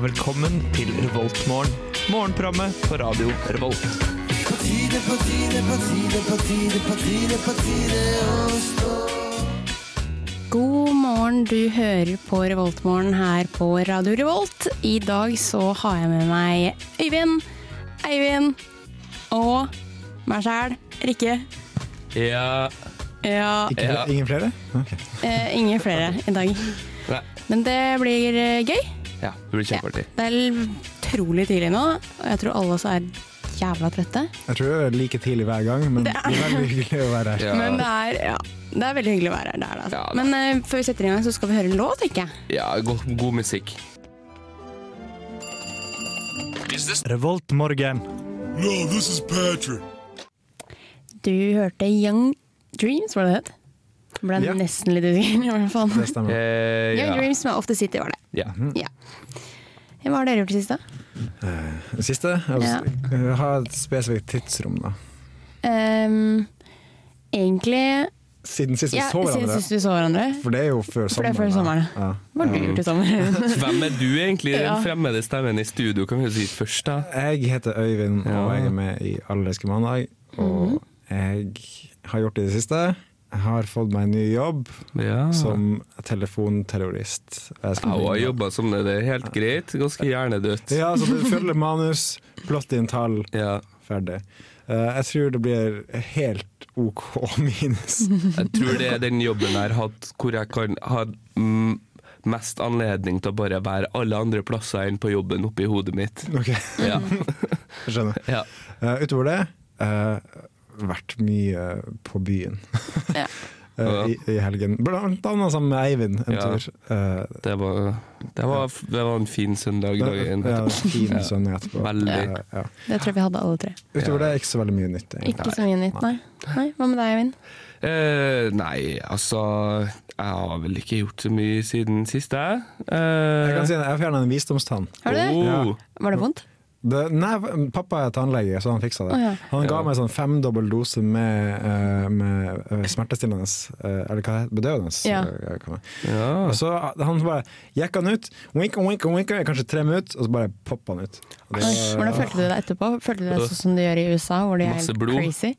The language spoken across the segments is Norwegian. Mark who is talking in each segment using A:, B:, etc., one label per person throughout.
A: velkommen til Revoltmorgen. Morgenprogrammet på radio Revolt.
B: God morgen, du hører på Revoltmorgen her på Radio Revolt. I dag så har jeg med meg Øyvind, Eivind og meg sjæl, Rikke.
C: Ja
B: Ja,
D: Ikke,
C: Ja.
D: Ingen flere? Ok.
B: eh, ingen flere i dag.
C: Nei.
B: Men det blir eh, gøy.
C: Ja, det blir kjempeartig.
B: Det er utrolig tidlig nå, og jeg tror alle også er jævla trøtte.
D: Jeg tror det er like tidlig hver gang, men det er veldig hyggelig å være her.
C: Ja,
B: Men det er, ja, det er veldig hyggelig å være her. Det er det,
C: Ja,
B: altså.
C: da.
B: Men eh, før vi setter i gang, så skal vi høre en låt, tenker jeg.
C: ja god, god musikk.
A: Revoltmorgen.
E: No, this is Patrick.
B: Du hørte Young Dreams, var det det het? Ble
D: Ja.
B: nesten litt usikker. i hvert fall.
D: Det stemmer.
C: Eh,
B: Young
C: ja. Mm.
B: Dreams med Off The City var det.
C: ja.
B: Ja. Hva har dere gjort i det siste?
D: Siste? Jeg
B: Ja.
D: vil ha et spesifikt tidsrom, da.
B: Ehm, egentlig
D: Siden sist vi
B: ja,
D: så
B: Siden
D: hverandre.
B: sist vi så hverandre.
D: For det er jo før
B: For det er
D: sommeren.
B: før sommeren.
D: da. Ja.
B: Hva
C: Mm.
B: har du gjort i sommer?
C: Hvem er du egentlig?
B: Ja.
C: Den fremmede stemmen i studio, kan vi jo si først, da.
D: Jeg heter Øyvind, og jeg er med i Allerske mandag.
B: Mhm.
D: Og jeg har gjort det i det siste. Jeg har fått meg en ny jobb
C: Ja.
B: Mhm.
D: som telefonterrorist. Jeg skal-
C: Au, jeg jobba som det. Det er helt greit. Ganske hjernedødt.
D: Ja, så du følger manus, plott inn tall,
C: Ja.
D: ferdig. Eh, jeg tror det blir helt OK minus.
C: Jeg tror det er den jobben jeg har hatt hvor jeg kan ha mm, mest anledning til å bare være alle andre plasser enn på jobben oppi hodet mitt.
D: Ok,
C: Ja.
D: skjønner.
C: ja.
D: Eh, utover det, eh, vært mye på byen
B: ja.
D: eh, i, i helgen. Blant annet sammen med Eivind en
C: Ja.
D: tur. Eh,
C: Det var, det, var, det var en fin søndag dagen
D: Ja,
C: etterpå.
D: fin søndag etterpå.
C: Veldig.
D: Eh, ja.
B: Det tror jeg vi hadde alle tre.
D: Utover det, ikke så veldig mye nytt. egentlig.
B: Ikke så mye nytt, nei. nei. Hva med deg, Eivind?
C: Eh, nei, altså Jeg har vel ikke gjort så mye siden sist, jeg. Eh,
D: Jeg kan si det, jeg fjerna en visdomstann.
B: Har du det?
C: Oh,
B: Var det vondt?
D: Det, nei, pappa er tannlege, så han fiksa det.
B: Å, ja.
D: Han ga
C: Ja.
D: meg sånn femdobbel dose med, eh, med eh, smertestillende eh, Eller hva heter det? Bedøvende?
B: Ja.
D: eh, kan man-
C: ja.
D: Og så eh, han bare gikk han ut, winka, winka, winka, i kanskje tre minutter, og så bare poppa han ut. Og det var-
B: Hvordan følte du deg etterpå? Følte du deg sånn som de gjør i USA, hvor de er
C: Masse
B: helt
C: blod.
B: crazy?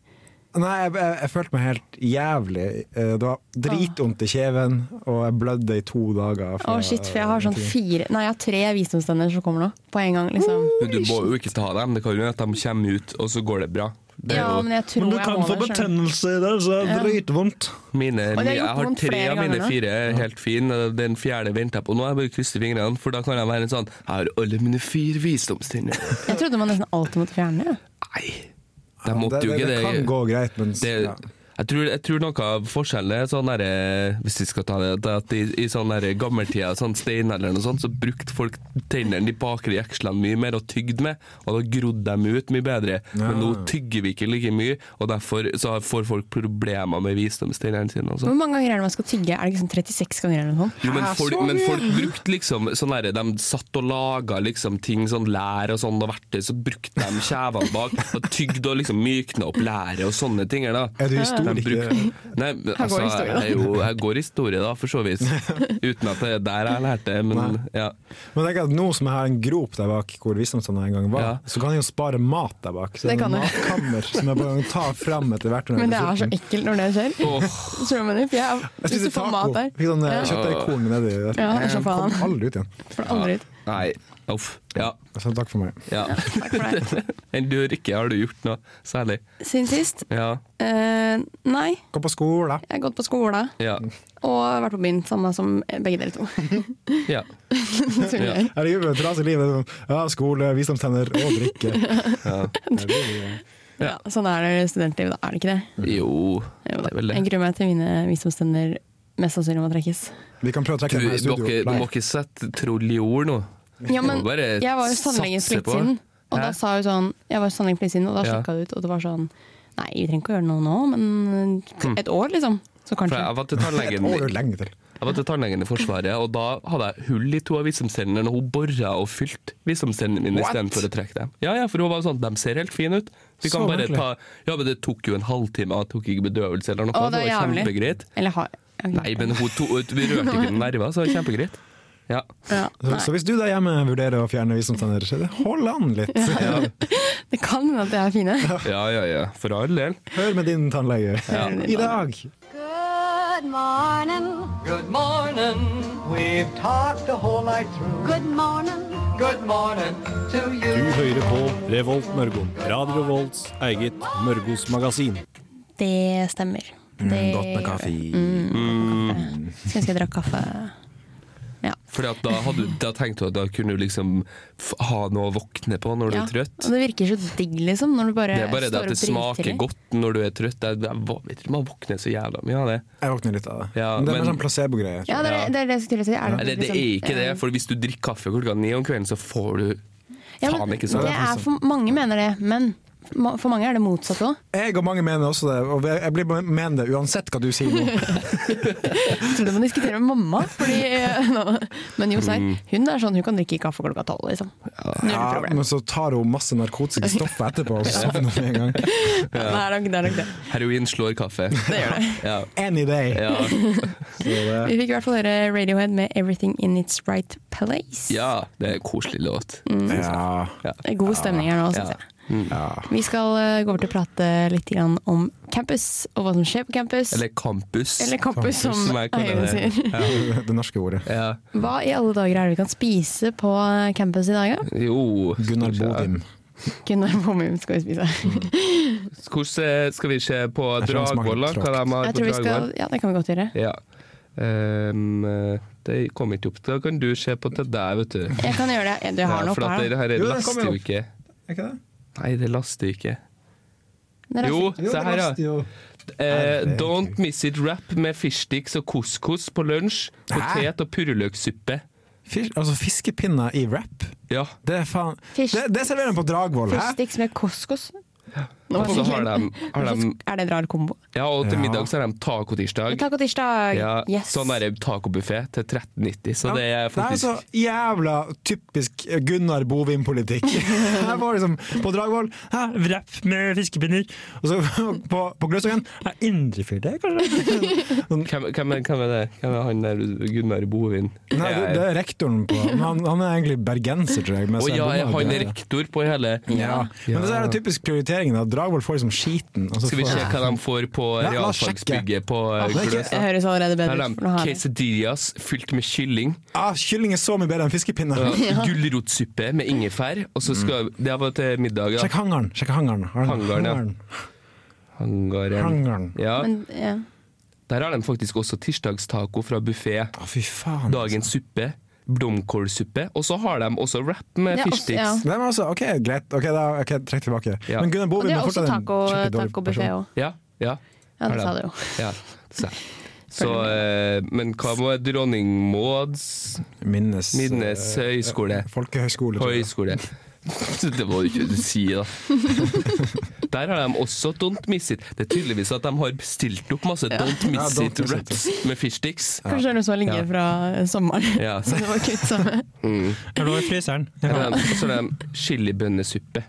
D: Nei, jeg, jeg, jeg følte meg helt jævlig. Eh, Det var dritvondt i kjeven, og jeg blødde i to dager.
B: Å, shit, for jeg har sånn fire Nei, jeg har tre visdomstenner som kommer nå, på en gang, liksom.
C: Men du må jo ikke ta dem. Det kan jo hende at de kommer ut, og så går det bra. Det er
B: Ja,
C: jo
B: men jeg tror jeg må det. skjønner du.
D: i det, så det
B: Ja.
D: dritvondt.
C: mine,
B: Og det har
C: jeg
B: gjort
C: har
B: vondt
C: tre
B: flere
C: av mine
B: ganger nå.
C: fire er helt fine. Den fjerde venter jeg på. Nå har jeg bare krysset fingrene, for da kan jeg være en sånn Jeg har alle mine fire visdomstinner.
B: Jeg trodde man nesten alltid måtte fjerne det.
C: Nei, de måtte
D: det,
C: jo
D: det,
C: ikke
D: det kan gå greit, men
C: det,
D: ja.
C: jeg, tror, jeg tror noe av forskjellen er sånn derre Hvis vi skal ta det, det at i, i sånn derre gammeltida, sånn steinalderen og sånn, så brukte folk tennene de bakre jekslene mye mer og tygde med, og da grodde de ut mye bedre. Men nå tygger vi ikke like mye, og derfor så får folk problemer med visdomstennene sine. Altså.
B: Hvor mange ganger er det man skal tygge? Er det ikke sånn 36 ganger eller noe sånt?
C: Jo, men,
D: Hæ,
C: folk,
D: så
C: men
D: mye?
C: folk brukte liksom sånn derre De satt og laga liksom ting, sånn lær og sånn og verktøy, så brukte de kjevene bak og tygde og liksom mykna opp læret og sånne ting. her, da.
D: Er du
C: De
D: historiker?
C: bruk- Nei, men,
B: Her går
C: altså,
B: historie, da.
C: jeg, er jo, jeg går historie, da, for så vidt. Uten at det er der jeg lærte det, men ja.
D: Men tenk at nå som jeg har en grop der bak hvor visdomstanna en gang var,
C: Ja.
D: så kan jeg jo spare mat der bak. Så
B: Det kan
D: en
B: du.
D: matkammer som jeg bare kan ta fram etter hvert. når jeg
B: Men det
D: blir
B: er så
D: sulten.
B: ekkelt når det skjer. Tror du meg det? For jeg-
D: Jeg
B: Hvis du
D: spiste
B: får
D: taco.
B: mat der,
D: Fikk sånn eh,
B: Ja.
D: kjøttdeigkorn nedi der.
B: Ja, så
D: jeg
B: faen.
D: kom aldri ut igjen.
B: får du aldri ut.
C: Nei, uff. Ja.
D: Så takk for meg.
C: ja.
B: Takk for det.
C: Enn du, Rikke, har du gjort noe særlig?
B: Siden sist?
C: Ja.
B: Eh, nei, jeg
D: Gå på skole.
B: har gått på skolen
C: Ja.
B: og vært på byen, samme som begge dere to.
C: ja.
B: Så gøy.
D: Herregud, for et trasig liv. Det er sånn, Ja, skole, visdomstenner og drikke. Ja, det er jo-
B: Ja, sånn er det i studentlivet, da. Er det ikke det?
C: Jo, det
B: Jo, da.
C: er vel
B: Jeg
C: det.
B: gruer meg til mine visdomstenner mest sannsynlig må trekkes.
D: Vi kan prøve å
C: Du,
D: trekke den her i studio.
C: dere, du
D: Nei.
C: må ikke sette troll i ord nå.
B: Ja, men
C: må bare
B: jeg var jo hos tannlegen
C: satse
B: for litt
C: på.
B: siden, og da
C: Hæ?
B: sa hun sånn Jeg var hos tannlegen for litt siden, og da
C: Ja.
B: sjekka hun ut, og det var sånn Nei, vi trenger ikke å gjøre noe nå, men et år, liksom. Så
C: Mm. For
B: kanskje.
C: jeg var til
D: Et år
C: tannlegen
D: lenge til.
C: Jeg var til tannlegen i Forsvaret, og da hadde jeg hull i to av visdomstennene, og hun bora og fylte visdomstennene mine
D: What?
C: istedenfor å trekke dem. Ja, ja, for hun var sånn De ser helt fine ut. Vi kan
D: Så
C: bare
D: merkelig.
C: ta Ja, men det tok jo en halvtime, jeg tok ikke bedøvelse eller noe.
B: Å, det er
C: var
B: jævlig.
C: kjempegreit.
B: Eller har
C: Nei, men hun to, vi rørte ikke noen nerver, så det var kjempegreit. Ja.
B: Ja,
D: Så, så
B: nei.
D: hvis du der hjemme vurderer å fjerne visdomstenner, så hold an litt.
B: Det kan hende at de er fine.
C: ja, ja, ja. For all del.
D: Hør med din tannlege i dag.
F: Good morning.
G: Good morning. We've talked the whole night through.
F: Good morning.
G: Good morning to you.
H: Du hører på Revolt Mørgon. Radio Revolts eget Mørgos magasin.
B: Det stemmer. Det-
D: Godt med kaffe.
B: Skulle ønske jeg drakk kaffe. Ja.
C: Fordi at da, hadde, du- da tenkte du at da kunne du liksom f ha noe å våkne på når du
B: Ja,
C: er trøtt.
B: Og det virker så digg, liksom, når du bare,
C: Det er bare det
B: står
C: at det
B: opp
C: smaker
B: drittidlig.
C: godt når du er trøtt. Det er, det er, vet ikke, man våkner så jævla mye av det.
D: Jeg våkner litt av det.
C: Ja,
D: men det er mer
C: men-
D: sånn placebo-greier.
B: Ja, det er det, det, er det liksom- jeg skulle til å si. Er
C: Eller det er ikke det, for hvis du drikker kaffe klokka ni om kvelden, så får du
B: Ja,
C: faen
B: men,
C: ikke sånn.
B: Det er for, mange mener det, men ma- for mange er det motsatt òg.
D: Jeg og mange mener også det, og jeg blir mener det uansett hva du sier nå.
B: Tror du man diskuterer med mamma? Fordi, eh, nå- men jo,
C: Mm.
B: serr. Hun er sånn, hun kan drikke kaffe klokka tolv, liksom. Null
D: Ja,
B: problem.
D: men så tar hun masse narkotiske stoffer etterpå, og så sovner hun med en gang.
B: Det er nok det. Er nok det.
C: Heroin slår kaffe.
B: det, gjør det.
C: Ja.
D: Any day.
C: Ja.
B: Vi fikk i hvert fall høre Radiohead med 'Everything In Its Right Place'.
C: ja, det er en koselig låt.
B: Mm.
D: Ja.
B: Det er God stemning her nå, syns jeg.
C: Mm.
B: Vi skal eh, gå over til å prate litt grann om campus, og hva som skjer på campus.
C: Eller Campus.
B: Eller campus, som
C: som jeg kaller
B: Eivind
C: det.
B: sier.
D: Det norske ordet.
C: Ja.
B: Hva i alle dager er det vi kan spise på eh, campus i dag, da?
C: Jo
D: Gunnar
C: skal vi se.
D: Bodin.
B: Gunnar Bommum skal vi spise.
C: Hvordan eh, skal vi se på
D: Jeg tror han smaker
C: Dragvoll, da? Hva
D: tråkig.
C: de har
B: Jeg
C: på
B: tror vi skal,
C: Dragvoll?
B: ja, det kan vi godt gjøre.
C: Ja. Ehm, det kom ikke opp. Da kan du se på til deg, vet du.
B: Jeg kan gjøre det. Du har
C: Ja,
B: den
C: for
B: oppe
C: at
B: her,
C: det
B: da.
C: her er
D: Jo, den kommer opp.
C: lastejuke.
D: Er ikke det?
C: Nei, det laster ikke.
B: Den er
C: Jo,
B: fin.
C: se her, ja.
D: Jo.
C: Eh, don't miss it wrap med fishsticks og couscous på lunsj. Potet- og purreløksuppe.
D: Fisk, altså fiskepinner i wrap?
C: Ja.
D: Det er faen
B: Fish-
D: Det, det serverer de på Dragvoll, hæ?
B: Fish-sticks med couscous. Nå
C: Og så
B: fikk
C: har
B: jeg-
C: de, har de
B: Er det en rar kombo?
C: Ja, og til
D: Ja.
C: middag så har de tacotirsdag.
B: Taco tirsdag.
C: Ja,
B: yes.
C: Sånn er det tacobuffé til 13,90, så det er
D: Det er
C: faktisk
D: så altså, jævla typisk Gunnar Bovim-politikk. Her var liksom På Dragvoll hæ, wrap med fiskepinner. Og så på, på Gløshaugen hæ, indrefilet, kanskje? Sånn,
C: hvem, hvem, er- hvem er det? Hvem er han der Gunnar Bovin?
D: Nei, det, det er altså, rektoren på men han, han er egentlig bergenser, tror jeg. men
C: Å
D: så er
C: ja, er
D: han
C: han
D: bonde.
C: rektor på hele
D: Ja. Men det er det typisk prioriteringen. Da. Dragvoll får liksom skiten. og så
C: Skal vi
D: får-
C: se hva de får på
D: Ja, la oss
C: realfagsbygget på
D: det er ikke-
C: Gløs?
B: Det høres
C: Her
B: allerede bedre
C: har
B: ut. for nå
C: de
B: har vi-
C: quesadillas fylt med kylling.
D: Ah, kylling er så mye bedre enn fiskepinner!
C: Ja. Gulrotsuppe med ingefær. Og så skal Det var til middag, ja.
D: Sjekk hangaren! Sjekk hangaren.
C: Hangaren, ja. Hangaren.
D: Hangaren.
C: Ja.
B: Men, ja.
C: Der har de faktisk også tirsdagstaco fra buffé.
D: Å, fy faen.
C: Dagens suppe. Blomkålsuppe. Og så har de også wrap med
B: Det er også- ja.
C: fishsticks.
D: Nei, men altså, ok, greit. Ok, da, ok, Trekk tilbake.
C: Ja.
D: Men Gunnar
B: Og
D: Bovim
B: det er
D: er
B: også
D: fortsatt en
B: taco,
D: skikkelig dårlig
B: tacobuffé
D: person.
B: òg.
C: Ja, ja.
B: Ja, det
C: Har
B: sa
C: de.
B: du jo.
C: Ja, så. Så, eh, men hva må dronning Mauds
D: Minnes,
C: Midnes
D: eh,
C: høgskole.
D: Folkehøgskole. tror jeg.
C: Høyskole. Det må du ikke si, da. Der har de også Don't Miss It. Det er tydeligvis at de har bestilt opp masse Don't
D: Ja,
C: Miss
D: Don't
C: It
D: Miss It.
C: wraps med fishsticks.
B: Kanskje det er noe som har ligget
C: Ja.
B: fra sommeren.
C: Ja, så
B: Så det var kutt sammen.
D: Er det noe i fryseren?
C: har de- og så har de chilibønnesuppe.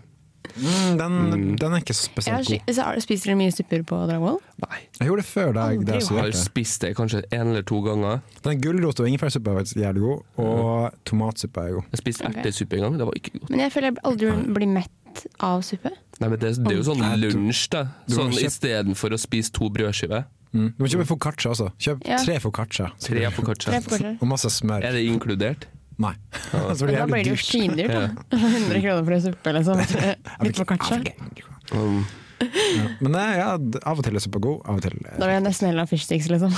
D: Mm, den, den er ikke så spesielt god.
B: Spiser dere mye supper på Dragvoll?
C: Nei,
D: Jeg gjorde det før da jeg
B: Aldri
D: da
B: gjort.
C: jeg har
D: studerte.
C: spist det kanskje en eller to ganger.
D: Den gulrot- og ingefærsuppa er faktisk jævlig god, og tomatsuppa er god.
C: Jeg spiste ertesuppe en gang, det var ikke godt.
B: Men jeg føler jeg aldri blir mett av suppe.
C: Nei, men det, det er jo sånn lunsj, da.
D: du har
C: Sånn
D: kjøpt-
C: istedenfor å spise to brødskiver,
D: Mm. Du må kjøpe focaccia også. Kjøp
B: Ja.
D: tre focaccia.
C: tre
B: Tre
C: foccaccia.
B: forkortelser.
D: Og masse smør.
C: Er det inkludert?
D: Nei. så blir det
B: Da blir
D: jævlig
B: det jo
D: dyrt.
B: svindyrt. da. 100 kroner for en suppe, liksom. Litt foccaccia.
C: Um,
D: Ja. Men nei, ja, d- av og til er suppa god, av og til eh,
B: Da vil jeg nesten heller ha fishsticks, liksom.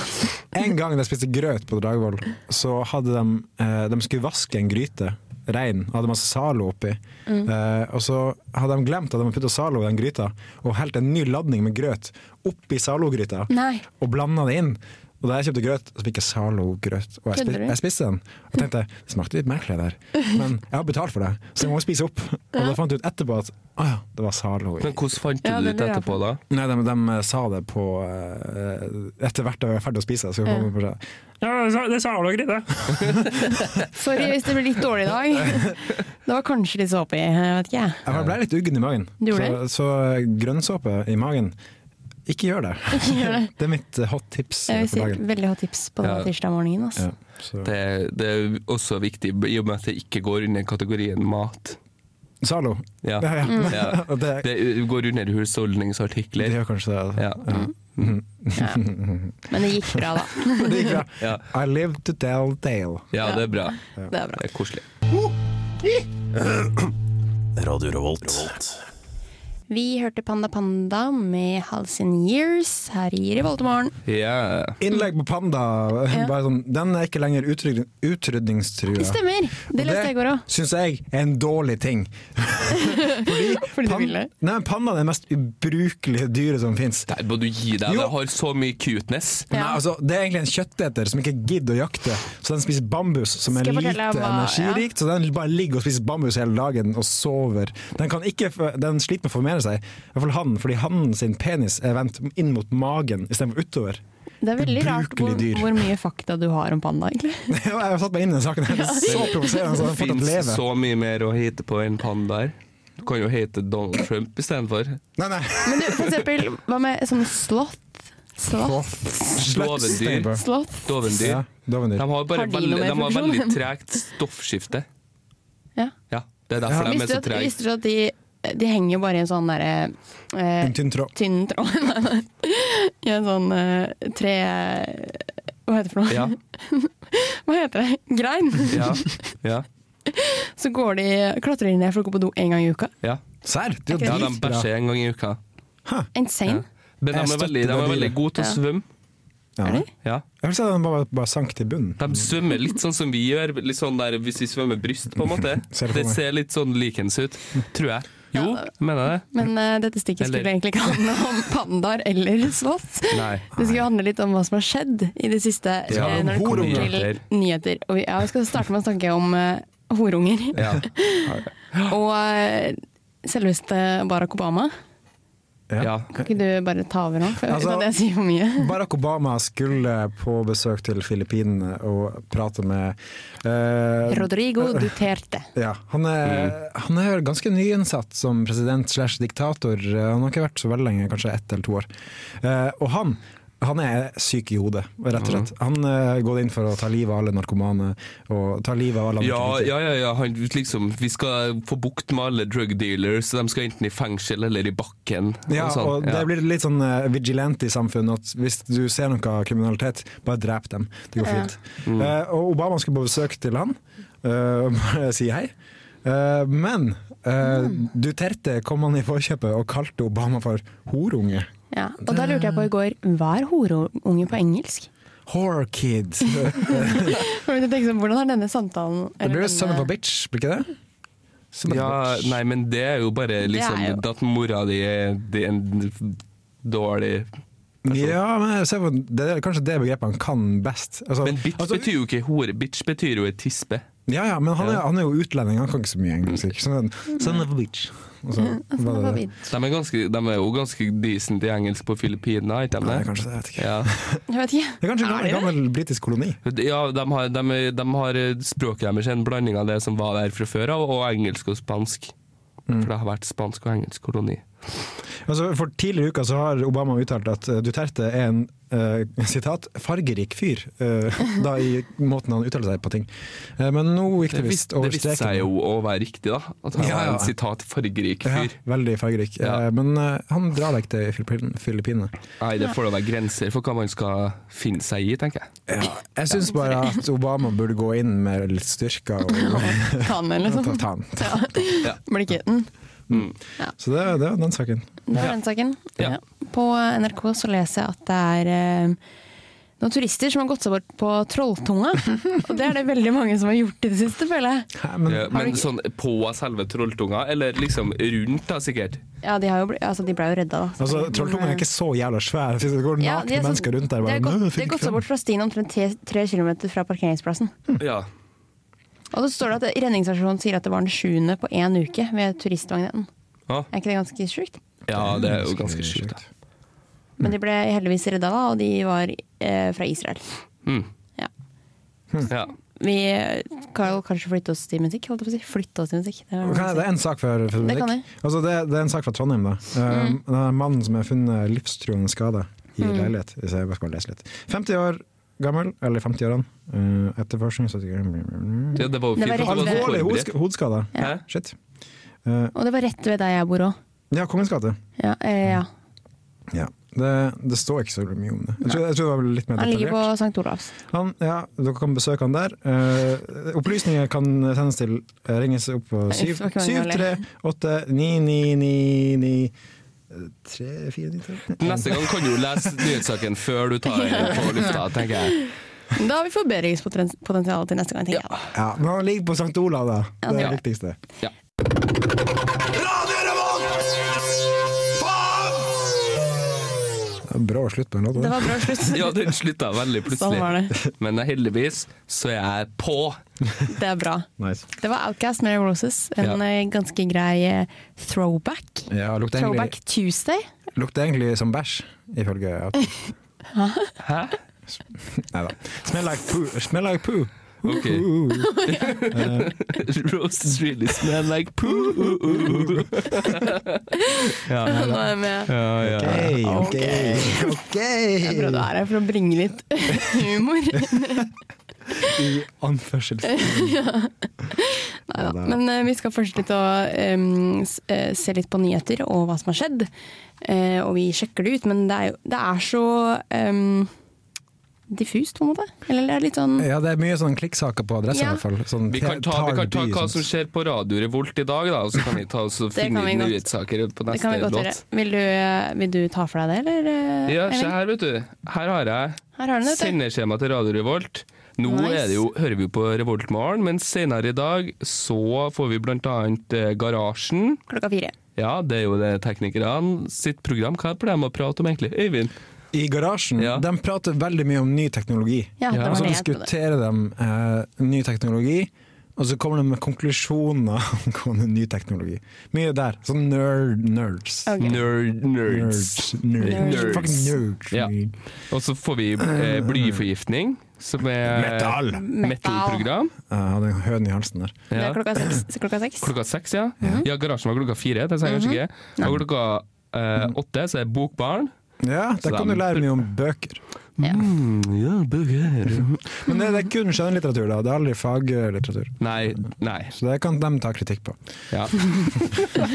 D: En gang da jeg spiste grøt på Dragvoll, så hadde de, eh, de skulle vaske en gryte. Rein. og Hadde masse Zalo oppi.
B: Mm.
D: Eh, og så hadde de glemt at de hadde putta Zalo i den gryta, og helt en ny ladning med grøt oppi Zalo-gryta.
B: Nei.
D: Og blanda det inn. Og da jeg kjøpte grøt, så fikk jeg Zalo-grøt. Og jeg,
B: Kødder
D: spi
B: du?
D: jeg spiste den. Og tenkte det smakte litt merkelig der, men jeg har betalt for det, så jeg må spise opp. Og da fant jeg ut etterpå at å ja, det var Zalo i
C: men hvordan fant du
B: Ja,
C: det
B: det
C: ut
B: lurer jeg
C: etterpå, da?
D: Nei, de, de sa det på eh, Etter hvert da jeg var ferdig å spise. Så kom jeg på det. Ja, det sa dere ikke, det.
B: Sorry hvis det blir litt dårlig i dag. Det var kanskje litt såpe i, jeg vet ikke jeg.
D: Jeg ble litt uggen i magen.
B: Du
D: så,
B: gjorde
D: så grønnsåpe i magen Ikke gjør det.
B: gjør det.
D: Det er mitt eh, hot tips
B: Jeg
D: eh,
B: vil si
D: for dagen.
B: Veldig hot tips på denne
C: Ja.
B: tirsdag morgenen. Altså.
D: Ja, så.
C: Det, det er også viktig, i og med at det ikke går under kategorien mat.
D: Zalo.
C: Ja.
D: Ja, ja.
C: Ja.
D: Det, det,
C: Det går under husholdningsartikler.
D: gjør kanskje det.
C: Ja.
B: Men det gikk bra, da.
D: Det gikk bra.
C: Ja.
D: I live to tell tale.
C: ja, det er bra.
B: Det er bra.
C: Det er koselig.
I: Radio Revolt.
B: Vi hørte Panda Panda med Hals in Years her i Revoltemorgen.
C: Ja.
D: Innlegg på Panda.
B: Ja.
D: Bare sånn, den er ikke lenger utrydning- utrydningstrua.
B: Det stemmer! Det leste jeg i går òg.
D: syns jeg er en dårlig ting.
B: Fordi du
D: Pan-
B: ville.
D: Nei, men Panda er det mest ubrukelige dyret som fins.
C: Der må du gi deg.
D: Jo.
C: Det har så mye cuteness.
B: Ja.
D: Nei, altså, det er egentlig en kjøtteter som ikke gidder å jakte, så den spiser bambus, som er
B: Skal jeg
D: lite
B: fortelle hva-
D: energirikt. Så den bare ligger og spiser bambus hele dagen og sover. Den, kan ikke, f- den sliter med å formere seg, i hvert fall han, fordi hannen sin penis er vendt inn mot magen istedenfor utover.
B: Det er veldig rart hvor,
D: Ubrukelig dyr.
B: hvor mye fakta du har om panda, egentlig.
D: Jeg har satt meg inn i den saken, her, det er så provoserende
C: Det
D: så den fortsatt
C: fins
D: lever.
C: så mye mer å hete på enn pandaer. Du kan jo hete Donald Trump istedenfor.
D: Nei, nei.
B: Men du, for eksempel, hva med sånne sloth? Sloth?
C: Dovendyr.
D: Slutt.
B: sloth?
C: Dovendyr.
D: Ja, dovendyr.
C: De har bare
B: Har de noe
C: veldig,
B: mer
C: de har
B: funksjon?
C: veldig tregt stoffskifte.
B: Ja.
C: Ja, det er derfor de er
B: Visste
C: så
B: du at,
C: trege.
B: visste du at de, de henger jo bare i en sånn derre eh,
D: En tynn tråd.
B: tynn tråd Nei, nei. I en sånn eh, tre Hva heter det for noe?
C: Ja,
B: Hva heter det? Grein!
C: ja, ja,
B: Så går de, klatrer de ned for å gå på do én gang i uka.
C: ja.
D: Serr? Det er
C: ja
D: jo
C: de
D: dritbra.
C: bæsjer en gang i uka.
B: Insane.
C: Men de
D: Jeg
C: er
D: støtter
C: veldig, de
D: det
C: er veldig
D: dyret.
C: gode til å
B: Ja.
C: svømme.
D: Ja.
B: Er de?
C: Ja.
D: Jeg vil si at den bare, bare sank til bunnen.
C: De svømmer litt sånn som vi gjør, litt sånn der hvis vi svømmer bryst, på en måte.
D: Ser det for
C: Det
D: meg.
C: ser litt sånn likens ut, tror jeg. Jo,
B: Ja.
C: mener jeg det?
B: Men eh, dette stikket
C: Eller-
B: skulle egentlig ikke handle om pandaer eller slåss.
C: Nei.
B: Det skulle handle litt om hva som har skjedd i det siste
C: Ja,
B: eh,
C: om
B: når det kommer
C: horunger.
B: til nyheter. Og vi, ja, vi skal starte med å snakke om eh, horunger.
C: Ja.
B: Og eh, selveste Barack Obama.
C: ja.
B: Kan ikke du bare ta over nå, for
D: Altså-
B: uten at jeg sier for mye?
D: Barack Obama skulle på besøk til Filippinene og prate med eh,
B: Rodrigo Duterte.
D: ja, han, er, han er ganske nyinnsatt som president slash diktator. Eh, Han har ikke vært så veldig lenge, kanskje ett eller to år. Eh, og han, han er syk i hodet, rett og slett. Han eh, går inn for å ta livet av alle narkomane. Og ta livet av alle
C: Ja,
D: narkotikere.
C: ja, ja, ja. Han, liksom, vi skal få bukt med alle drug dealers. De skal enten i fengsel eller i bakken.
D: Ja,
C: sånn.
D: og det
C: Ja.
D: blir litt sånn eh, vigilante i samfunnet at hvis du ser noe kriminalitet, bare drep dem. Det går fint.
C: Mm.
D: Eh, og Obama skulle på besøk til han, eh, bare si hei. Eh, men eh, Duterte kom han i forkjøpet og kalte Obama for horunge.
B: Ja. Og da lurte jeg på i går, hva er horunge på engelsk?
D: Whore kid. Det
B: For jeg tenkte sånn, Hvordan er denne samtalen
D: blir
B: eller
D: jo son of a
B: denne-
D: bitch, blir ikke det? Son of a
C: ja,
D: bitch.
C: Nei, men det er jo bare liksom
B: er
C: at mora di er di er en dårlig altså-
D: ja, men se på, det er kanskje det begrepet han kan best. Altså,
C: Men bitch
D: altså,
C: betyr jo ikke hore. Bitch betyr jo ei tispe.
D: Ja, ja, men han er,
C: Ja. Mm.
D: han er jo utlending, han kan ikke så mye engelsk. ikke sant? Son of a bitch. Og så var det det.
C: De er, ganske, de er jo ganske decent i engelsk på Filippinene, er ikke de
D: Nei,
C: det?
D: kanskje det, jeg vet ikke.
C: Ja.
B: Jeg vet ikke.
D: Det er kanskje en
B: Er det
D: gammel,
B: det?
D: gammel britisk koloni.
C: Ja, de har, de, er- de har eh, språket deres er en blanding av det som var der fra før av, og engelsk og spansk.
D: Mm.
C: For det har vært spansk og engelsk koloni.
D: Altså, for Tidligere i uka så har Obama uttalt at eh, Duterte er en eh, sitat, 'fargerik fyr', eh, da i måten han uttaler seg på ting. Eh, men nå gikk
C: Det,
D: det
C: vis,
D: visst
C: det
D: over
C: viste
D: streken.
C: seg jo å være riktig, da. At han
D: Ja,
C: var
D: ja.
C: en sitat fargerik
D: Ja,
C: fyr.
D: veldig fargerik.
C: Ja.
D: Eh, men eh, han drar deg ikke til Filippin- Filippinene.
C: Nei, det får da være grenser for hva man skal finne seg i, tenker jeg.
D: Jeg syns bare at Obama burde gå inn med litt styrke og
B: Tannen,
D: ta,
B: liksom.
D: ta han.
B: Blikketen.
D: Så det, det var den saken.
B: Det var den saken.
C: Ja.
B: Ja. På NRK så leser jeg at det er eh, noen turister som har gått seg bort på Trolltunga. Og det er det veldig mange som har gjort i det siste, føler jeg.
D: Hæ, men,
C: Eh, Men sånn på selve trolltunga, eller liksom rundt, da, sikkert.
B: Ja, de, har jo ble, altså, de ble jo redda, da.
D: altså, Trolltungen er ikke så jævla svær. Det går
B: eh,
D: nakne
B: Ja, de er sånn-
D: mennesker rundt der.
B: De
D: Bare,
B: har gått,
D: «Nå,
B: de har
D: finn
B: gått seg
D: fram».
B: bort fra stien omtrent tre, tre kilometer fra parkeringsplassen.
D: Hm.
C: Ja.
B: Og så står det at redningsaksjonen sier at det var den sjuende på én uke ved turistmagneten.
C: Ja.
B: Er ikke det ganske sjukt?
C: ja, Mm. det er jo ganske sjukt. da.
B: Men de ble heldigvis redda da, og de var eh, fra Israel.
C: Mm.
B: Ja.
C: Ja.
B: vi kan jo kanskje flytte oss til musikk, holdt jeg på å si. Flytte oss til musikk. Det er
D: Kan jeg, det er en sak for, for
B: liksom. Det
D: musikk.
B: kan Mm. vi.
D: Altså, det, det er en sak fra Trondheim. da. Eh, Det er en mann som er funnet livstruende skada i
B: Mm.
D: leilighet. Hvis jeg bare skal lese litt. 50 år gammel, eller 50-årene. Uh, etterforskning så-
C: Ja, det var jo
B: Det
C: fint.
B: var
C: at du
B: rett
C: var
B: ved-
D: Alvorlig
C: forberedt.
D: hodsk hodeskade.
C: Hæ?
D: Shit. Eh,
B: Og det var rett ved der jeg bor òg.
D: ja, Kongens gate.
B: Ja, eh, ja.
D: Ja. Det, det står ikke så mye om det. Jeg tror, jeg tror det var litt mer
B: Han ligger på
D: Mm. detaljert.
B: St. Olavs.
D: Han, ja, dere kan besøke han der. Eh, opplysninger kan sendes til eh, ringes opp på
B: Nei,
D: syv-
B: det var ikke mange
D: 738-9999 eh, Tre, fire, ni, tre?
C: Neste gang kan du jo lese nyhetssaken før du tar den på lufta, tenker jeg.
B: Da har vi forbedringspotensial til neste gang, tenker jeg. da.
D: Ja, men han ligger på St. Olav, da. Det er
C: Ja.
D: det viktigste.
C: Ja.
D: Det var Bra slutt på en låt.
B: Det
D: da.
B: var bra slutt.
C: Ja, den slutta veldig
B: Sånn var
C: plutselig.
B: det.
C: Men heldigvis så er jeg på.
B: Det er bra.
D: Nice.
B: Det var Outcast med Roses. En
C: Ja.
B: eh, ganske grei eh, throwback.
D: Ja, lukter egentlig,
B: Throwback Tuesday.
D: lukter egentlig som bæsj, ifølge Hæ? Nei da. Smell like poo. Smell like poo.
C: Ok.
D: Poo.
C: Eh. Roses really smell like poo.
B: Nå er jeg med.
C: Ja, ja.
D: Ok, ok,
B: Jeg prøvde å
D: ok.
B: være her for å bringe litt humor.
D: I anførselstegn.
B: Neida.
D: det er-
B: Men eh, vi skal først litt å, em, s- eh, se litt på nyheter og hva som har skjedd. Eh, og vi sjekker det ut, men det er, jo, det er så em, diffust, på en måte. Eller det er litt sånn
D: Ja, det er mye sånn klikksaker på adressa
B: Ja.
D: i hvert fall. Sånn
C: Vi kan ta, vi kan ta
D: Tarby,
C: hva
D: sånn.
C: som skjer på Radio Revolt i dag, da, og så kan vi ta oss og
B: Det
C: finne
B: kan vi
C: ut
B: godt.
C: nyhetssaker på
B: Det kan vi
C: neste
B: godt gjøre.
C: låt.
B: Vil du, eh, vil du ta for deg det, eller? eh,
C: Ja, se
B: Eivind?
C: her, vet du. Her har jeg
B: Her har du det, vet du.
C: sendeskjema til Radio Revolt. Nå
B: Nice.
C: er det jo, hører vi jo på Revolt Morgen, men senere i dag så får vi blant annet eh, Garasjen.
B: Klokka fire.
C: Ja, det er jo det teknikerne sitt program. Hva pleier de å prate om egentlig? Øyvind?
D: I garasjen
C: Ja.
D: de prater veldig mye om ny teknologi.
B: Ja,
C: Ja,
B: det
D: Og
B: var
D: så
B: det jeg trodde.
D: diskuterer de eh, ny teknologi, og så kommer de med konklusjoner angående ny teknologi. Mye der. Sånn nerd, nerds.
B: Ok.
C: Nerd, nerds.
D: Nerds. Nerds.
C: Nerds.
D: Fucking nerds.
C: Ja. Og så får vi eh, blyforgiftning, som er
D: Metal!
C: metal-program.
D: Jeg hadde en høne i halsen der.
B: Det
C: Ja.
B: er klokka Mhm. seks. Klokka seks.
C: Klokka seks, ja. Ja, Garasjen var klokka fire, det sa
B: Mhm.
C: jeg kanskje ikke. Og klokka eh, åtte så er det Bokbarn.
D: Ja,
C: Så
D: der kan
C: de-
D: du lære mye om bøker. Mm,
C: ja, bøker.
D: Men det, det er kun skjønnlitteratur, da. Det er aldri faglitteratur.
C: Nei, nei.
D: Så det kan de ta kritikk på.
C: Ja.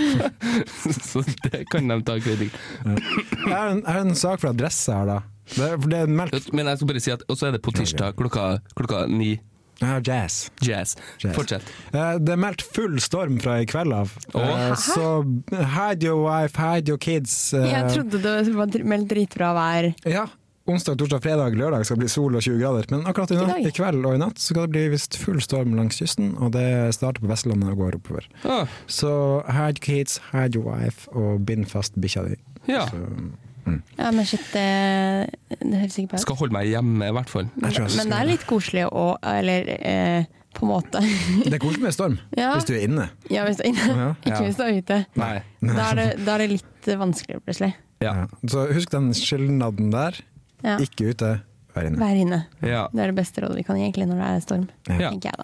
C: så det kan de ta kritikk.
D: Jeg har en, jeg har en sak fra Adresse her, da. Det, er- for det er meldt
C: Men jeg skal bare si at Og så er det på tirsdag klokka, klokka ni.
D: ja, Jazz.
C: Jazz.
D: Jazz.
C: Fortsett.
D: Eh, Det er meldt full storm fra i kveld av.
C: Åh.
D: Eh, Så hide your wife, hide your kids. eh,
B: Jeg trodde det var dr- meldt dritbra vær.
D: Ja, Onsdag, torsdag, fredag, lørdag skal bli sol og 20 grader. Men akkurat i, natt,
B: dag.
D: i kveld og i natt så skal det bli visst full storm langs kysten. Og det starter på Vestlandet og går oppover.
C: Ah,
D: Så hide your kids, hide your wife, og bind fast bikkja di.
C: ja.
B: Ja, men shit, eh, det, det høres ikke bra ut.
C: Skal holde meg hjemme, i hvert fall.
D: Jeg tror jeg
B: Men
D: skal-
B: det er litt koselig å Eller eh, på en måte.
D: Det er koselig med storm
B: Ja.
D: hvis du er inne.
B: ja, hvis du er inne. Ikke hvis du er ute.
C: Nei.
B: Da er det, da er det litt vanskeligere, plutselig.
C: Ja.
D: Så husk den skilnaden der.
B: Ja.
D: Ikke ute, vær inne.
B: Vær inne.
C: ja.
B: Det er det beste rådet vi kan gi egentlig når det er storm,
C: Ja.
B: tenker jeg da.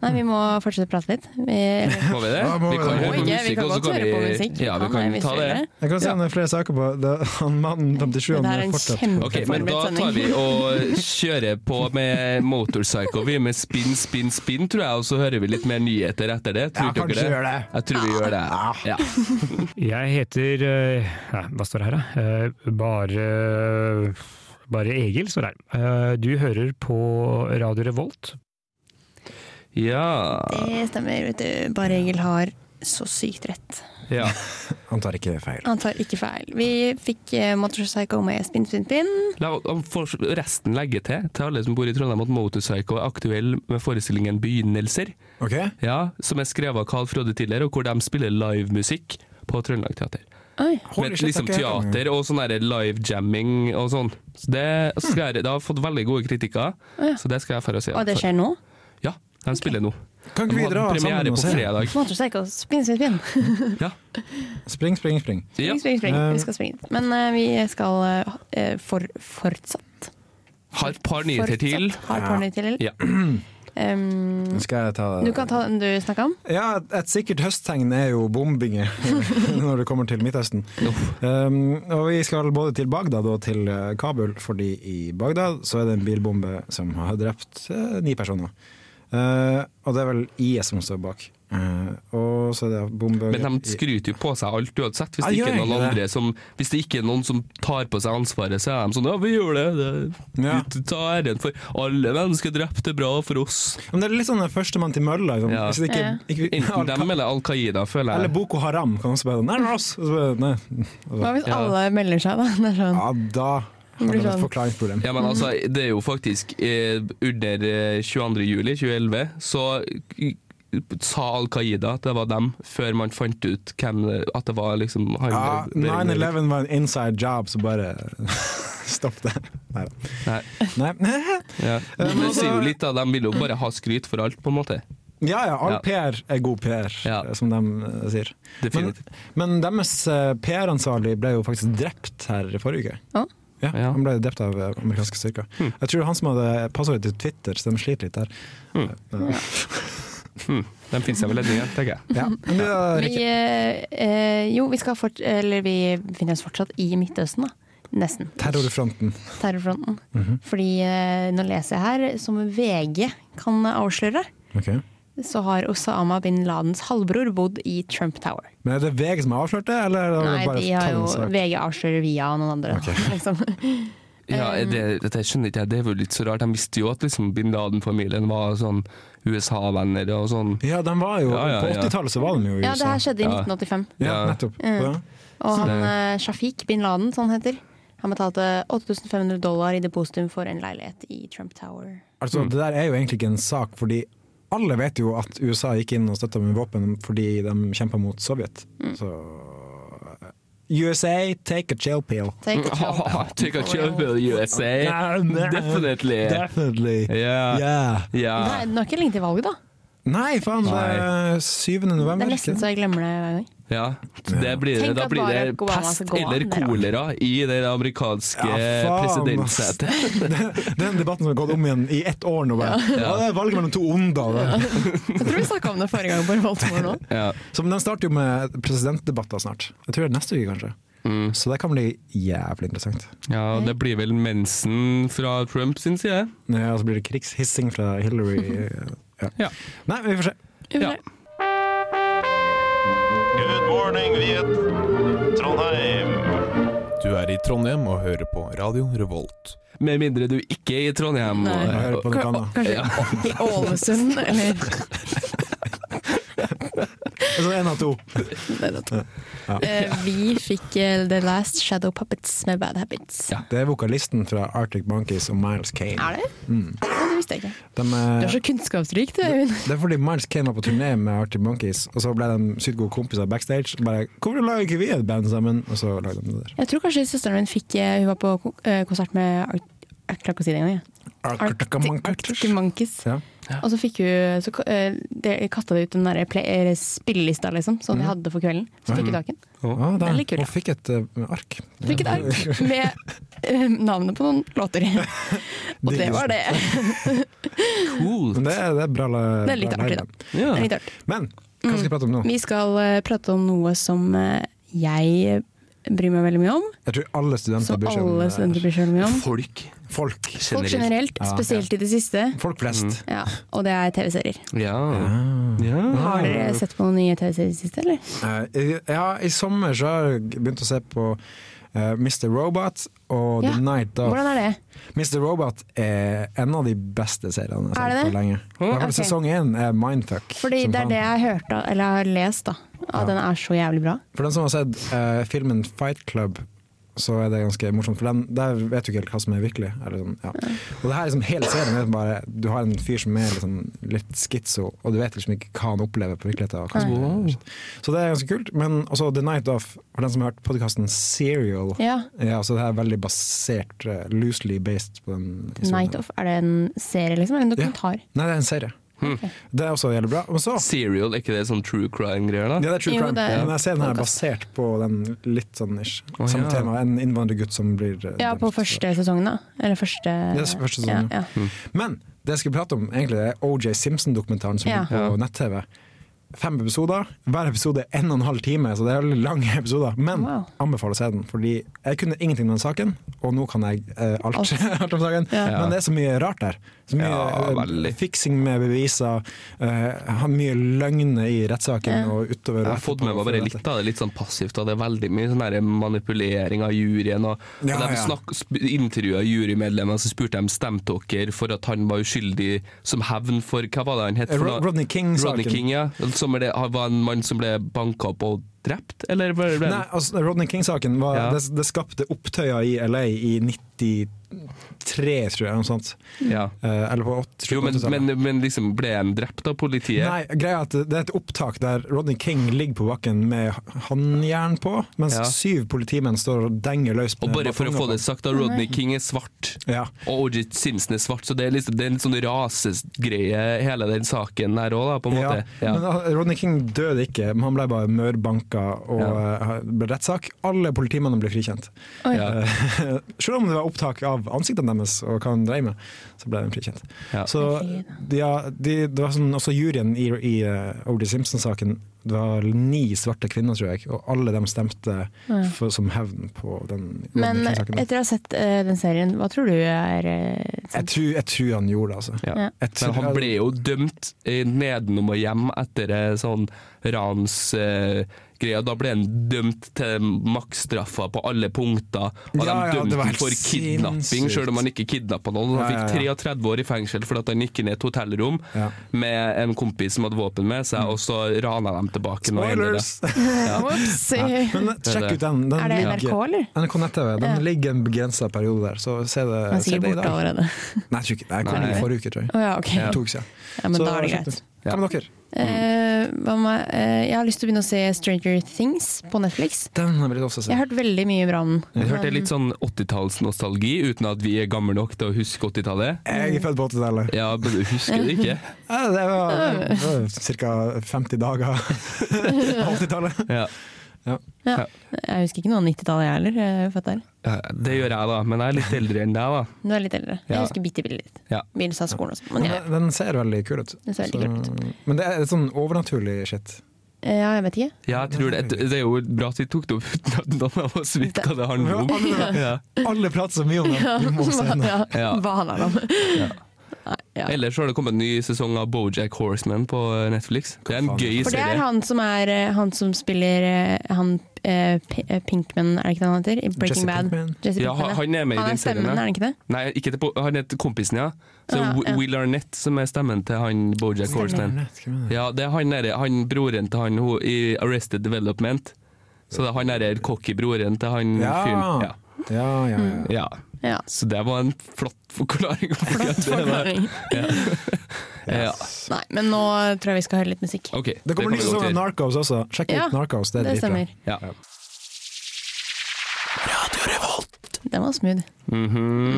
B: Nei, vi må fortsette å prate litt. Vi, eller,
C: Må vi det?
D: Ja, må
C: Vi
D: vi
C: kan
D: det?
C: høre på
B: Må ikke, vi
C: musikk,
B: kan
C: og så
B: godt
C: kan
B: høre på musikk.
C: vi Ja, vi
B: Kan jeg,
C: kan
B: hvis
C: ta
B: vi vil
C: det.
B: det.
D: Jeg kan se om det er flere saker på det. Han mannen 57
B: det
D: han
B: er en
D: fortsatt-
B: kjempe-
C: Ok, men da tar vi og kjører på med Motorpsycho. Vi er med spinn, spinn, spinn, tror jeg, og så hører vi litt mer nyheter etter det. Tror
D: Ja,
C: ikke
D: kanskje
C: dere
D: gjør
C: det?
D: det.
C: Jeg tror vi gjør det. Ja.
H: Jeg heter eh, nei, Hva står det her, da? Eh, Bare bare Egil står det her. Eh, Du hører på Radio Revolt.
C: Ja.
B: Det stemmer, vet du. Bare Egil har så sykt rett.
C: ja.
D: Han tar ikke feil.
B: Han tar ikke feil. Vi fikk eh, Motorpsycho med Spinn, spinn, spinn.
C: La og for resten legge til, til alle som bor i Trondheim, at Motorpsycho er aktuell med forestillingen Begynnelser,
D: Ok?
C: ja, som er skrevet av Carl Frode Tiller, og hvor de spiller livemusikk på Trøndelag Teater.
B: Oi.
D: Holy
C: Med
D: shit,
C: liksom
D: takk, jeg er enig.
C: teater og sånn der live jamming og sånn. Så det,
D: Mm.
C: skal jeg, det har fått veldig gode kritikker, så det skal jeg for å se.
B: Og det skjer nå?
C: Ja, de spiller nå.
D: Kan
C: De
D: ikke vi
C: hadde
D: dra
C: premiere
D: sammen
C: på
D: og se?
C: fredag.
B: Motorpsycho, spinn, spinn, spinn.
C: Ja.
D: Spring, spring, spring.
C: Ja.
B: Spring, spring, spring. Vi skal springe. Men eh, vi skal eh, for, eh, fortsatt
C: Har et par nyheter til.
B: Fortsatt Har et par nyheter til.
C: Ja.
B: Ehm,
D: Skal jeg ta
B: du kan ta den du snakka om.
D: Ja, et sikkert høsttegn er jo bombinger når det kommer til Midtøsten. Um, og vi skal både til Bagdad og til eh, Kabul, fordi i Bagdad så er det en bilbombe som har drept eh, ni personer. Eh, og det er vel IS som står bak. Eh, og så er det bombe
C: Men de skryter jo på seg alt uansett. Hvis
D: Ja,
C: det ikke er
D: gjør
C: noen
D: ikke det.
C: andre som Hvis det ikke er noen som tar på seg ansvaret, så er de sånn Ja, vi gjør det. det
D: Ja.
C: Vi tar æren for alle mennesker drepte bra for oss.
D: Men det er litt sånn den førstemann til mølla. Liksom.
C: Ja.
D: Hvis det
B: Ja.
D: ikke, ikke,
C: Enten dem eller Al Qaida, føler
D: eller
C: jeg.
D: Boko Haram kan også bare Nei, det er oss! Og så bare, Nei.
B: Hva hvis
C: Ja.
B: alle melder seg, da? Det er sånn.
D: Ja, da har de
B: Blir
D: et
B: sånn.
D: forklaringsproblem.
C: Ja, men altså, det er jo faktisk eh, Under eh, 22. juli 2011 så eh, sa Al Qaida at det var dem, før man fant ut hvem det- At det var liksom han
D: Ja,
C: der- der-
D: 9-11 var en inside job, så bare stopp det. Nei da.
C: Nei.
D: Nei. Eh,
C: Ja. Men det sier jo litt, da. De vil jo bare ha skryt for alt, på en måte.
D: Ja ja,
C: Ja.
D: all PR er god PR,
C: Ja.
D: som de eh, sier. Men,
C: Definitivt.
D: men deres PR-ansvarlig ble jo faktisk drept her i forrige uke.
B: Å?
D: Ja,
C: Ja. Hmm.
D: Han ble drept av eh, amerikanske styrker. Jeg tror det var han som hadde passordet til Twitter, så de sliter litt Eh, der.
C: Hmm. De finner seg vel en ny en, tenker jeg.
D: Ja. Men det er
B: Vi,
D: ikke
B: eh, eh, jo, vi skal fort... Eller vi befinner oss fortsatt i Midtøsten, da. Nesten.
D: terrorfronten.
B: Terrorfronten.
D: Mhm.
B: Fordi eh, nå leser jeg her, som VG kan avsløre,
D: Ok.
B: så har Osama bin Ladens halvbror bodd i Trump Tower.
D: Men er det VG som har avslørt det, eller er det
B: Nei,
D: bare
B: de har jo
D: tallens sak?
B: VG avslører via noen andre. Liksom.
C: Ja, er det, det skjønner ikke jeg. Det er jo litt så rart. De visste jo at liksom bin Laden-familien var sånn USA-venner og sånn.
D: Ja, de var jo,
C: Ja, ja,
D: På
C: ja.
D: 80-tallet så var de jo i
B: Ja, det
D: USA.
B: her skjedde i
C: Ja.
B: 1985.
D: Ja,
C: Ja.
D: nettopp. Ja.
B: Og han
C: det-
B: eh, Shafiq bin Laden, som han heter, han betalte 8500 dollar i depositum for en leilighet i Trump Tower.
D: Altså,
C: Mm.
D: Det der er jo egentlig ikke en sak, fordi alle vet jo at USA gikk inn og støtta med våpen fordi de kjempa mot Sovjet.
B: Mm.
D: Så eh, USA, take a chill pill.
B: Take a chill pill.
C: Take a chill pill, USA. Definitely.
D: Definitely.
C: Ja.
D: Yeah.
B: Nei,
C: Ja.
B: Den har ikke lenge til valget, da.
D: Nei, faen, det er 7.
B: Det
D: november.
B: er nesten
D: ikke?
B: så jeg glemmer det hver gang.
C: ja. Det blir det.
B: Tenk
C: Da
B: at
C: blir det
B: Barack Obama
C: pest
B: skal gå
C: eller
B: an der, da.
C: kolera i det amerikanske
D: Ja, faen, ass.
C: presidentsetet.
D: Det er den debatten som har gått om igjen i ett år nå. Bare. Ja. det er valget mellom to onder. det.
B: Jeg tror vi snakka om det forrige gang på Revoltmore nå.
C: Ja.
D: Så, men den starter jo med presidentdebatter snart. Jeg tror det er neste uke, kanskje.
C: Mm.
D: Så det kan bli jævlig interessant.
C: ja, det blir vel mensen fra Trump sin side.
D: Ja, og så blir det krigshissing fra Hillary. eh, Ja.
C: Ja.
D: Nei, vi får se.
C: Ja.
E: Good morning, Viet. Trondheim.
J: Du er i Trondheim og hører på Radio Revolt.
C: Med mindre du ikke er i Trondheim.
B: Nei.
D: Jeg hører på noe
B: Ka-
D: annet.
B: Kanskje i Ålesund, eller
D: Altså, en av to.
B: Nei, det er to. Eh, Vi fikk eh, The Last Shadow Puppets med Bad Habits.
C: Ja.
D: Det er vokalisten fra Arctic Monkeys og Miles Kane. Mm.
B: Er det? Nei, Det visste jeg ikke.
D: De,
B: Du
D: eh,
B: er så kunnskapsrik, du, Øyvind.
D: det er fordi Miles Kane var på turné med Arctic Monkeys, og så ble de sykt gode kompiser backstage. Bare 'Hvorfor lager ikke vi et band sammen?' Og så lagde de det der.
B: Jeg tror kanskje søsteren min fikk eh, Hun var på ko- eh, konsert med Ar- Jeg klarer ikke å si det engang. jeg.
D: Arctic Monkeys.
B: Arctic Monkeys.
D: Ja.
B: Og så fikk hun Så eh, det- kasta de ut den derre play- eller spillelista, liksom, som de hadde for kvelden. Så fikk hun tak i den.
D: Ah, der.
B: er litt kul,
D: og
B: da.
D: fikk et eh, ark.
B: Fikk et ark med eh, navnet på noen låter. Og det var det.
C: Cool.
D: Men det, er- det er bra. la-
B: Det er litt
D: bra
B: artig, Mm.
D: live.
C: Ja.
B: Det er litt artig.
D: Men hva skal vi prate om nå?
B: Vi skal eh, prate om noe som eh, jeg bryr meg veldig mye om.
D: Jeg tror alle studenter
B: Som
D: bryr seg om eh,
B: alle
D: det her.
B: studenter bryr seg veldig mye om.
C: Folk
D: folk.
B: Folk
C: generelt.
B: generelt, spesielt i det siste.
D: Folk flest.
B: Ja, og det er TV-serier.
C: Ja. ja.
B: Har dere sett på noen nye TV-serier i det siste, eller?
D: Eh, Ja, i sommer så har jeg begynt å se på eh, Mr. Robot og
B: Ja,
D: The Night Of.
B: Hvordan er det?
D: Mr. Robot er en av de beste seriene jeg har
B: Er det
D: sett
B: det?
D: på lenge. I hvert fall
B: ok.
D: Sesong én er mindfuck.
B: Fordi
D: som
B: det er
D: faen.
B: det jeg har hørt, da, eller har lest, da. At den er så jævlig bra.
D: For den som har sett eh, filmen Fight Club, så er det ganske morsomt. For den, der vet du ikke helt hva som er virkelig. Eller sånn, ja. Og det her er liksom hele serien er bare Du har en fyr som er liksom litt skitso, og du vet liksom ikke hva han opplever på virkeligheten. og hva som er- Så det er ganske kult. Men også The Night Off, for den som har hørt podkasten Serial.
B: Ja.
D: Ja, så det her er veldig basert, eh, loosely based på den historien.
B: Night Off, er det en serie, liksom? Eller en
D: Ja.
B: dokumentar?
D: Nei, det er en serie.
C: Hmm.
D: Det er også jævlig bra. Og så
C: Serial, er ikke det sånn true crime-greier? da?
D: ja, det er true
B: Jo,
D: crime.
B: det er-
D: Men jeg ser den her basert på den litt sånn ish.
C: Å,
D: Samme
C: ja.
D: tema. En innvandrergutt som blir eh,
B: Ja, på
D: drept.
B: første sesongen, da. Eller første
D: Yes, første sesongen,
B: Ja, ja.
D: Men det jeg skulle prate om, egentlig er OJ Simpson-dokumentaren som
B: Ja.
D: ligger på nett-TV. Fem episoder. Hver episode er en og en halv time, så det er veldig lange episoder. Men
B: Wow.
D: anbefaler å se den, fordi jeg kunne ingenting om den saken, og nå kan jeg eh, alt, alt. om saken.
B: Ja.
D: Men det er så mye rart der. Så mye
C: Ja,
D: eh,
C: veldig.
D: fiksing med beviser, eh, har mye løgner i rettssaken og utover.
C: Jeg har fått med meg bare litt av det, litt sånn passivt. Og det er veldig mye sånn der manipulering av juryen. Og, og
D: Ja,
C: de
D: ja.
C: snakk- sp- intervjua jurymedlemmer, så spurte de stemte dere for at han var uskyldig som hevn for Hva var det han het?
D: Eh,
C: for
D: Ro-
C: noe?
D: Rodney King-saken.
C: Rodney King, ja. Som er det, han var en mann som ble banka opp og drept, eller ble ble-
D: Nei, altså, Rodney King-saken var,
C: Ja.
D: det, det skapte opptøyer i LA i 93, tror jeg. Noe sånt.
C: Ja.
D: Eh, eller på 80,
C: Jo, men,
D: 80-tallet.
C: men, men liksom, ble han drept av politiet?
D: Nei, greia er at Det er et opptak der Rodney King ligger på bakken med håndjern på, mens
C: Ja.
D: syv politimenn står og denger løs.
C: Og
D: med
C: bare for å få
D: batonger
C: det sagt, da, Rodney King er svart.
D: på. ja.
C: Og OJ Simpson er svart, så det er, liksom, det er en sånn rasegreie, hele den saken der òg, på en
D: Ja.
C: måte. Ja.
D: Men han- Rodney King døde ikke, men han ble bare mørbanka og eh, ble rettssak. Alle politimennene ble frikjent. Eh,
B: Oi.
C: Ja.
D: Selv om det var opptak av ansiktene deres og hva han dreiv med, så ble de frikjent.
C: Ja.
D: Så ja, de, det var sånn, også juryen i, i eh, O.J. Simpson-saken, det var ni svarte kvinner, tror jeg, og alle dem stemte for, som hevn på den
B: Men
D: den saken.
B: etter å ha sett eh, den serien, hva tror du er eh,
D: Jeg
B: sant?
D: tror, jeg tror han gjorde det, altså.
C: Ja.
B: Ja.
D: Jeg tror,
C: Men han ble jo dømt eh, nedenom og hjem etter eh, sånn ransgreie. da ble han dømt til maksstraffa på alle punkter. Og
D: Ja,
C: de
D: ja, det
C: dømte
D: var
C: ham
D: helt
C: for kidnapping,
D: sinnssykt.
C: selv om han ikke kidnappa noen. Han
D: Ja, ja,
C: fikk
D: ja.
C: 33 år i fengsel fordi at han gikk inn i et hotellrom
D: Ja.
C: med en kompis som hadde våpen med seg, og så rana de tilbake. når det gjelder det.
D: Mm. Spoilers!
B: Ops!
D: Men eh, sjekk ut den. den
B: Er det
D: ligger-
B: NRK, eller?
D: NRK Nett-TV. Den
B: Ja.
D: ligger en begrensa periode der, så se det,
B: Den er
D: se
B: sikkert
D: det i
B: borte
D: dag.
B: allerede.
D: Nei, jeg tror ikke det. Jeg kom
C: Nei.
D: i forrige uke, tror jeg.
B: Å ja, ok.
D: To uker siden.
B: Ja, men
D: Så
B: da er det
D: sjekk
B: greit.
D: ut. Hva med dere?
B: Eh, hva med, eh, jeg har lyst til å begynne å se Stranger Things på Netflix.
D: Den har vi også
B: Jeg
D: sett.
B: har hørt veldig mye bra om den.
C: Vi hørte litt sånn 80-tallsnostalgi, uten at vi er gamle nok til å huske 80-tallet.
D: Jeg er født på 80-tallet.
C: Ja, men du husker det ikke?
D: Ja, det var, det var ca. 50 dager av 80-tallet.
C: Ja.
D: sånn-
B: Jeg husker ikke noe av 90-tallet jeg heller. eh, Jeg er jo født der.
C: Det gjør jeg, da, men jeg er litt eldre enn deg, da.
B: Du er litt eldre.
C: Ja.
B: Jeg husker bitte bitte litt.
C: Ja.
B: Begynnelsen av skolen og sånn. Men jeg,
D: Den, den ser veldig kul ut.
B: Den ser veldig kul
D: men det er litt sånn overnaturlig shit.
B: Eh, ja, jeg vet ikke.
C: Ja, jeg tror det, det er jo bra at vi tok det opp uten at noen av oss vet hva det handler om. Ja.
D: Alle prater så mye om den! Vi må se den.
B: Ja.
C: Ja.
B: Hva handler det om? Nei, ja.
C: Ellers så har det kommet en ny sesong av Bojack Horseman på eh, Netflix. Det er en
D: faen?
C: gøy
B: For det er
C: serie.
B: han som er eh, Han som spiller eh, han eh, P- eh, Pinkman, er det ikke det han heter? I Breaking
D: Jesse
B: Bad.
D: Pinkman.
B: Jesse
C: Ja,
B: Pinkman, ja.
C: han er med i
B: Han
C: den
B: er stemmen,
C: serien.
B: er
C: ja.
B: han ikke det?
C: Nei, ikke til, Bo- han heter kompisen, ja. Så
B: Ja, ja.
C: Will Arnett som er stemmen til han Bojack Horseman. Ja, det er han, der, han broren til han ho- i Arrested Development. Så det er han derre cocky broren til han
D: Ja.
C: fyren. Ja.
D: Ja, ja, ja.
B: Mm.
C: ja.
B: Ja.
C: Så det var en flott forklaring. Flott
B: Forklaring.
C: Ja.
B: Nei, men nå tror jeg vi skal høre litt musikk.
C: Ok,
D: Det kommer ny
C: vi godt
D: sesong av
C: gjøre.
D: Narcos også. Sjekk
B: Ja,
D: ut Narcos, det er
B: Det
D: dritbra.
B: stemmer.
C: Ja.
B: Den var smooth.
C: Mhm.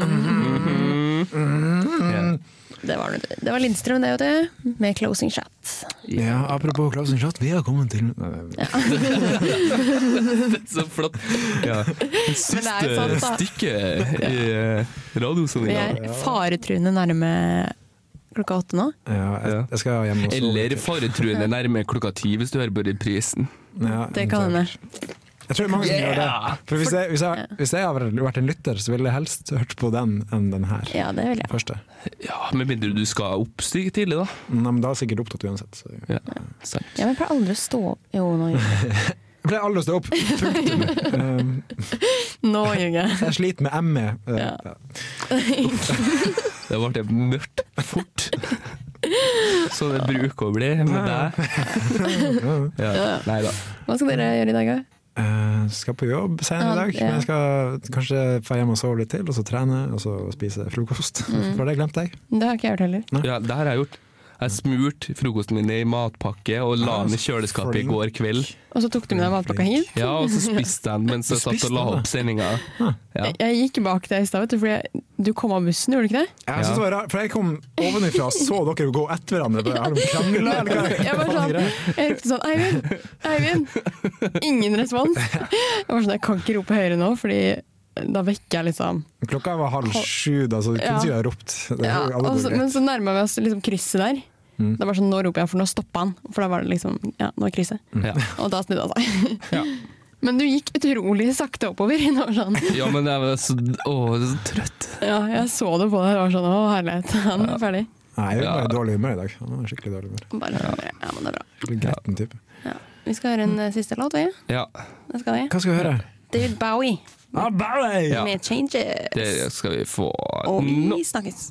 C: Ja.
D: Mm.
B: Det var, det var Lindstrøm, det, vet du. Med 'Closing Chat'.
D: Ja, apropos Klausen Chat, vi har kommet til
C: Så flott. Ja.
B: Men det er jo
C: Siste
B: sant, da.
C: stykke i eh,
B: Vi
C: radiosendinga.
B: er faretruende nærme klokka åtte nå.
D: Ja, jeg, jeg skal hjem og sove.
C: Eller faretruende nærme klokka ti, hvis du hører på reprisen.
D: Ja,
B: Det kan hende.
D: Jeg tror det er mange som gjør
C: Yeah!
D: det. For hvis, jeg, hvis, jeg, hvis jeg hadde vært en lytter, så ville jeg helst hørt på den enn den her.
B: Ja, det vil jeg.
D: Første.
C: Ja, Med mindre du skal opp sti- tidlig, da.
D: Nei, men da er jeg sikkert opptatt uansett. Så. Jeg
C: Ja, sant.
B: Ja, men jeg pleier aldri å stå opp Jo, nå ljuger jeg.
D: pleier aldri å stå opp. Punktum. Um,
B: Nå ljuger jeg.
D: jeg sliter med ME. Uh,
B: Ja.
C: Det ble mørkt fort. Så det bruker å bli med deg. Ja. Nei da.
B: Hva skal dere gjøre i dag, da?
D: uh, skal på jobb senere i dag,
B: Ja, ja.
D: men jeg skal kanskje få hjem og sove litt til, og så trene, og så spise frokost.
B: Mm.
D: For det glemte jeg.
B: Det har ikke jeg hørt heller.
C: Ja, det her har jeg gjort. Jeg smurte frokosten min i matpakke og la den i kjøleskapet i går kveld.
B: Og så tok du med deg matpakka hit.
C: Ja, Og så spiste jeg den mens jeg satt og la opp sendinga. Ja.
B: Jeg gikk bak deg i stad, vet du, fordi jeg- Du kom av bussen, gjorde du ikke det?
D: Jeg synes det var rart, for jeg kom ovenifra og så dere gå etter hverandre. Bare, Har de krangla, eller hva?
B: Jeg var
D: hva faen er
B: sånn,
D: greia?
B: jeg ropte sånn Eivind! Eivind! Ingen respons. Jeg var sånn, jeg kan ikke rope høyere nå, fordi da vekker jeg liksom
D: Klokka var halv sju, da, så du
B: Ja.
D: kunne sikkert ha ropt. Det,
B: ja,
D: alle Mm.
B: og
D: går
B: så,
D: greit.
B: Men så nærma vi oss liksom krysset der. Det var sånn, Nå roper jeg, for nå stoppa han. For da var det liksom, ja, nå er krysset.
C: Ja.
B: Og da snudde han seg.
C: Ja.
B: Men du gikk utrolig sakte oppover. Det var sånn,
C: Ja, men jeg var så, å, jeg er så trøtt.
B: ja, jeg så det på deg. Det var sånn, å herlighet, han er ferdig.
D: Nei, jeg var
C: Ja.
D: i dårlig humør i dag. Han var skikkelig dårlig humør.
B: Bare, ja. men det er bra.
D: Skikkelig gretten type.
B: Vi skal høre en eh, siste låt, vi.
C: Ja,
B: Det skal vi.
D: Hva skal vi høre?
B: David Bowie
D: Ah, Bowie!
C: Ja.
B: med 'Changes'.
C: det skal vi få
B: Og
C: nå.
B: vi snakkes.